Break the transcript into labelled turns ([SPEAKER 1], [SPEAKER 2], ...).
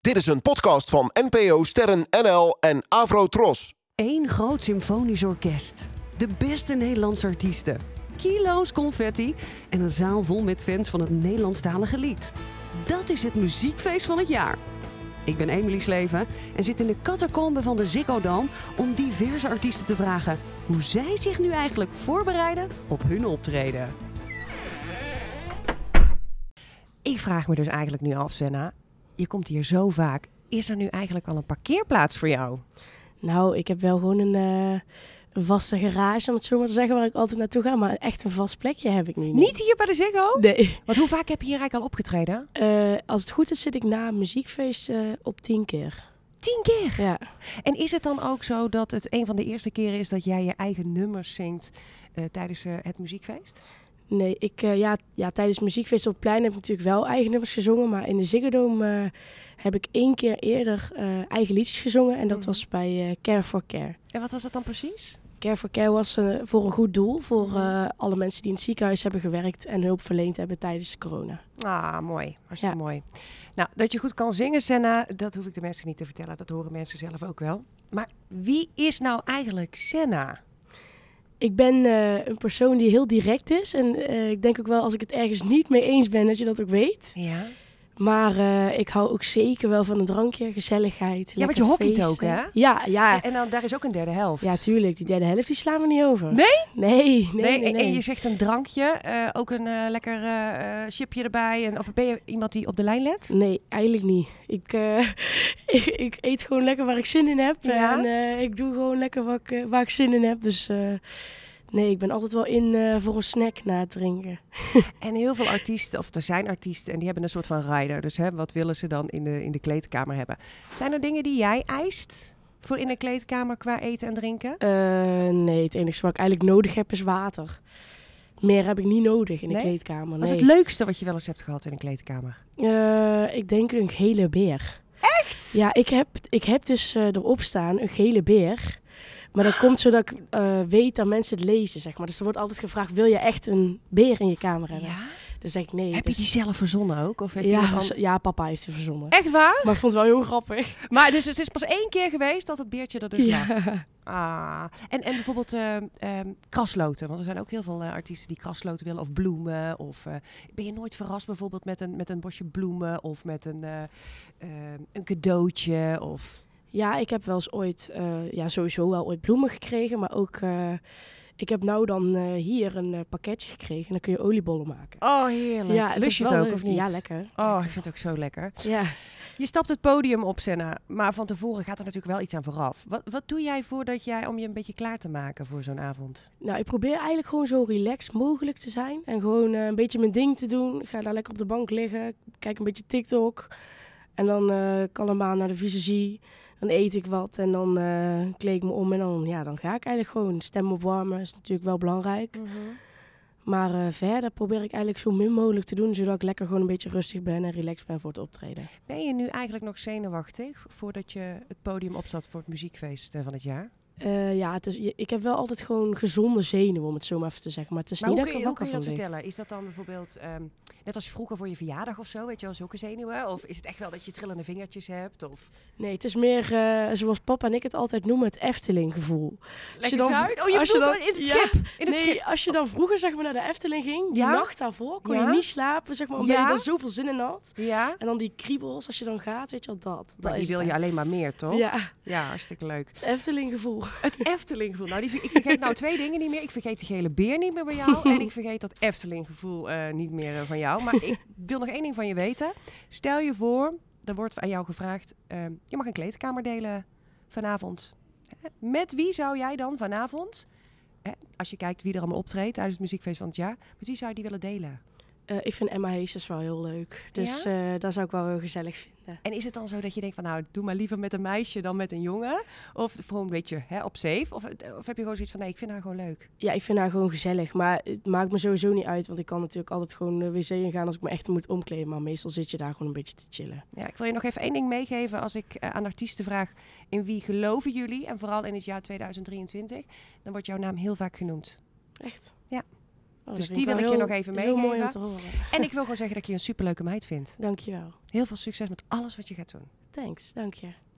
[SPEAKER 1] Dit is een podcast van NPO Sterren NL en Avro Tros.
[SPEAKER 2] Eén groot symfonisch orkest. De beste Nederlandse artiesten. Kilo's confetti en een zaal vol met fans van het Nederlandstalige lied. Dat is het muziekfeest van het jaar. Ik ben Emily Sleven en zit in de catacombe van de Ziggo Dome om diverse artiesten te vragen hoe zij zich nu eigenlijk voorbereiden op hun optreden. Ik vraag me dus eigenlijk nu af, Senna. Je komt hier zo vaak. Is er nu eigenlijk al een parkeerplaats voor jou?
[SPEAKER 3] Nou, ik heb wel gewoon een, eh, een vaste garage, om het zo maar te zeggen, waar ik altijd naartoe ga. Maar echt een vast plekje heb ik nu
[SPEAKER 2] Niet hier bij de Ziggo?
[SPEAKER 3] Nee.
[SPEAKER 2] Want hoe vaak heb je hier eigenlijk al opgetreden?
[SPEAKER 3] Eh, als het goed is, zit ik na een muziekfeest eh, op tien keer.
[SPEAKER 2] Tien keer.
[SPEAKER 3] Ja.
[SPEAKER 2] En is het dan ook zo dat het een van de eerste keren is dat jij je eigen nummers zingt eh, tijdens eh, het muziekfeest?
[SPEAKER 3] Nee, ik, eh, ja, ja, tijdens muziekfeest op het plein heb ik natuurlijk wel eigen nummers gezongen. Maar in de Ziggo Dome eh, heb ik één keer eerder eh, eigen liedjes gezongen. En dat
[SPEAKER 2] Mhm.
[SPEAKER 3] was bij eh, Care for Care.
[SPEAKER 2] En wat was dat dan precies?
[SPEAKER 3] Care for Care was eh, voor een goed doel. Voor
[SPEAKER 2] Mhm.
[SPEAKER 3] eh, alle mensen die in het ziekenhuis hebben gewerkt en hulp verleend hebben tijdens corona.
[SPEAKER 2] Ah, mooi. Hartstikke
[SPEAKER 3] Ja.
[SPEAKER 2] mooi. Nou, dat je goed kan zingen, Senna, dat hoef ik de mensen niet te vertellen. Dat horen mensen zelf ook wel. Maar wie is nou eigenlijk Senna?
[SPEAKER 3] Ik ben eh, een persoon die heel direct is. En eh, ik denk ook wel als ik het ergens niet mee eens ben, dat je dat ook weet.
[SPEAKER 2] Ja,
[SPEAKER 3] Maar eh, ik hou ook zeker wel van een drankje, gezelligheid.
[SPEAKER 2] ja want je
[SPEAKER 3] lekker
[SPEAKER 2] hockeyt
[SPEAKER 3] feesten.
[SPEAKER 2] ook, hè?
[SPEAKER 3] Ja, ja.
[SPEAKER 2] En, en dan, daar is ook een derde helft.
[SPEAKER 3] Ja, tuurlijk. Die derde helft, die slaan we niet over.
[SPEAKER 2] Nee?
[SPEAKER 3] Nee, nee,
[SPEAKER 2] Nee,
[SPEAKER 3] nee.
[SPEAKER 2] en- En
[SPEAKER 3] nee.
[SPEAKER 2] je zegt een drankje, eh, ook een eh, lekker eh, eh, chipje erbij. En, of ben je iemand die op de lijn let?
[SPEAKER 3] Nee, eigenlijk niet. Ik, eh, ik, ik eet gewoon lekker waar ik zin in heb.
[SPEAKER 2] Ja?
[SPEAKER 3] En eh, ik doe gewoon lekker waar ik, eh, waar ik zin in heb. Dus eh, nee, ik ben altijd wel in eh, voor een snack na het drinken.
[SPEAKER 2] En heel veel artiesten, of er zijn artiesten, en die hebben een soort van rider. Dus hè, wat willen ze dan in de, in de kleedkamer hebben? Zijn er dingen die jij eist voor in een kleedkamer qua eten en drinken?
[SPEAKER 3] Eh, nee, het enige wat ik eigenlijk nodig heb is water. Meer heb ik niet nodig in de
[SPEAKER 2] Nee?
[SPEAKER 3] kleedkamer. Nee.
[SPEAKER 2] Wat is het leukste wat je wel eens hebt gehad in een kleedkamer?
[SPEAKER 3] Eh, ik denk een gele beer. Echt? Ja, ik heb, ik heb dus eh, erop staan een gele beer. Maar dat komt zodat ik eh, weet dat mensen het lezen, zeg maar. Dus er wordt altijd gevraagd, wil je echt een beer in je kamer hebben? Dan zeg ik nee.
[SPEAKER 2] Heb je
[SPEAKER 3] Dus-
[SPEAKER 2] die zelf verzonnen ook? Of heeft
[SPEAKER 3] ja,
[SPEAKER 2] iemand anders-
[SPEAKER 3] dus- ja, papa heeft die verzonnen.
[SPEAKER 2] Echt waar?
[SPEAKER 3] Maar ik vond het wel heel grappig.
[SPEAKER 2] Maar dus het is pas één keer geweest dat het beertje er dus
[SPEAKER 3] Ja.
[SPEAKER 2] was. Ah. En, en bijvoorbeeld ehm, ehm, krasloten. Want er zijn ook heel veel eh, artiesten die krasloten willen. Of bloemen. Of eh, ben je nooit verrast bijvoorbeeld met een, met een bosje bloemen. Of met een, eh, ehm, een cadeautje. Of...
[SPEAKER 3] Ja, ik heb wel eens ooit, eh, ja, sowieso wel ooit bloemen gekregen. Maar ook, eh, ik heb nou dan eh, hier een eh, pakketje gekregen. En dan kun je oliebollen maken.
[SPEAKER 2] Oh, heerlijk.
[SPEAKER 3] dat
[SPEAKER 2] Lust
[SPEAKER 3] is
[SPEAKER 2] je het
[SPEAKER 3] wel
[SPEAKER 2] ook
[SPEAKER 3] leuk.
[SPEAKER 2] of niet?
[SPEAKER 3] Ja, lekker.
[SPEAKER 2] Oh, ik vind het ook zo lekker.
[SPEAKER 3] Ja.
[SPEAKER 2] Je stapt het podium op, Senna. Maar van tevoren gaat er natuurlijk wel iets aan vooraf. Wat, wat doe jij voordat jij, om je een beetje klaar te maken voor zo'n avond?
[SPEAKER 3] Nou, ik probeer eigenlijk gewoon zo relaxed mogelijk te zijn. En gewoon eh, een beetje mijn ding te doen. Ik ga daar lekker op de bank liggen. Kijk een beetje TikTok. En dan eh kalm aan naar de visagie. Dan eet ik wat en dan eh, kleed ik me om. En dan, ja, dan ga ik eigenlijk gewoon stem opwarmen. Is natuurlijk wel belangrijk. Maar eh, verder probeer ik eigenlijk zo min mogelijk te doen. Zodat ik lekker gewoon een beetje rustig ben en relaxed ben voor het optreden.
[SPEAKER 2] Ben je nu eigenlijk nog zenuwachtig voordat je het podium opzat voor het muziekfeest eh, van het jaar?
[SPEAKER 3] Eh, ja, het is, je- ik heb wel altijd gewoon gezonde zenuwen, om het zo maar even te zeggen. Maar het is
[SPEAKER 2] Maar
[SPEAKER 3] niet
[SPEAKER 2] hoe
[SPEAKER 3] dat
[SPEAKER 2] kun,
[SPEAKER 3] ik
[SPEAKER 2] je,
[SPEAKER 3] er
[SPEAKER 2] hoe
[SPEAKER 3] wakker
[SPEAKER 2] kun je
[SPEAKER 3] van
[SPEAKER 2] dat
[SPEAKER 3] lig.
[SPEAKER 2] vertellen? Is dat dan bijvoorbeeld, ehm, net als vroeger voor je verjaardag of zo, weet je wel, zulke zenuwen? Of is het echt wel dat je trillende vingertjes hebt? Of...
[SPEAKER 3] Nee, het is meer eh, zoals papa en ik het altijd noemen, het Efteling gevoel.
[SPEAKER 2] Leg eens
[SPEAKER 3] dan-
[SPEAKER 2] uit. Oh, je
[SPEAKER 3] als je
[SPEAKER 2] bedoelt
[SPEAKER 3] dan-
[SPEAKER 2] dan, in het
[SPEAKER 3] ja.
[SPEAKER 2] schip. In het
[SPEAKER 3] nee,
[SPEAKER 2] schip.
[SPEAKER 3] als je dan vroeger zeg maar, naar de Efteling ging, die
[SPEAKER 2] Ja?
[SPEAKER 3] nacht daarvoor, kon
[SPEAKER 2] Ja?
[SPEAKER 3] je niet slapen, zeg maar, omdat
[SPEAKER 2] Ja?
[SPEAKER 3] je daar zoveel zin in had.
[SPEAKER 2] Ja.
[SPEAKER 3] En dan die kriebels, als je dan gaat, weet je wel, dat. dat
[SPEAKER 2] Maar die
[SPEAKER 3] is
[SPEAKER 2] wil
[SPEAKER 3] het
[SPEAKER 2] je alleen maar meer,
[SPEAKER 3] eigenlijk.
[SPEAKER 2] toch?
[SPEAKER 3] Ja,
[SPEAKER 2] ja hartstikke leuk.
[SPEAKER 3] het Efteling gevoel.
[SPEAKER 2] Het Efteling-gevoel. Nou, die, ik vergeet nou twee dingen niet meer. Ik vergeet de gele beer niet meer bij jou. En ik vergeet dat Efteling-gevoel eh, niet meer eh, van jou. Maar ik wil nog één ding van je weten. Stel je voor, er wordt aan jou gevraagd... ehm, je mag een kleedkamer delen vanavond. Hè? Met wie zou jij dan vanavond... Hè, als je kijkt wie er allemaal optreedt tijdens het muziekfeest van het jaar... met wie zou je die willen delen?
[SPEAKER 3] Eh, ik vind Emma Heesjes wel heel leuk, dus eh, dat zou ik wel heel gezellig vinden.
[SPEAKER 2] En is het dan zo dat je denkt van... nou, doe maar liever met een meisje dan met een jongen? Of gewoon een beetje hè, op safe? Of, eh, of heb je gewoon zoiets van... nee, ik vind haar gewoon leuk?
[SPEAKER 3] Ja, ik vind haar gewoon gezellig, maar het maakt me sowieso niet uit, want ik kan natuurlijk altijd gewoon de wc ingaan als ik me echt moet omkleden, maar meestal zit je daar gewoon een beetje te chillen.
[SPEAKER 2] Ja, ik wil je nog even één ding meegeven als ik eh, aan artiesten vraag in wie geloven jullie en vooral in het jaar 2023, dan wordt jouw naam heel vaak genoemd.
[SPEAKER 3] Echt?
[SPEAKER 2] Ja.
[SPEAKER 3] Oh, dat
[SPEAKER 2] Dus
[SPEAKER 3] vind
[SPEAKER 2] die wil
[SPEAKER 3] wel
[SPEAKER 2] ik je
[SPEAKER 3] heel-
[SPEAKER 2] nog even
[SPEAKER 3] Heel mooi om
[SPEAKER 2] meegeven.
[SPEAKER 3] te horen.
[SPEAKER 2] En ik wil gewoon zeggen dat ik je een superleuke meid vind.
[SPEAKER 3] Dankjewel.
[SPEAKER 2] Heel veel succes met alles wat je gaat doen.
[SPEAKER 3] Thanks, dank je.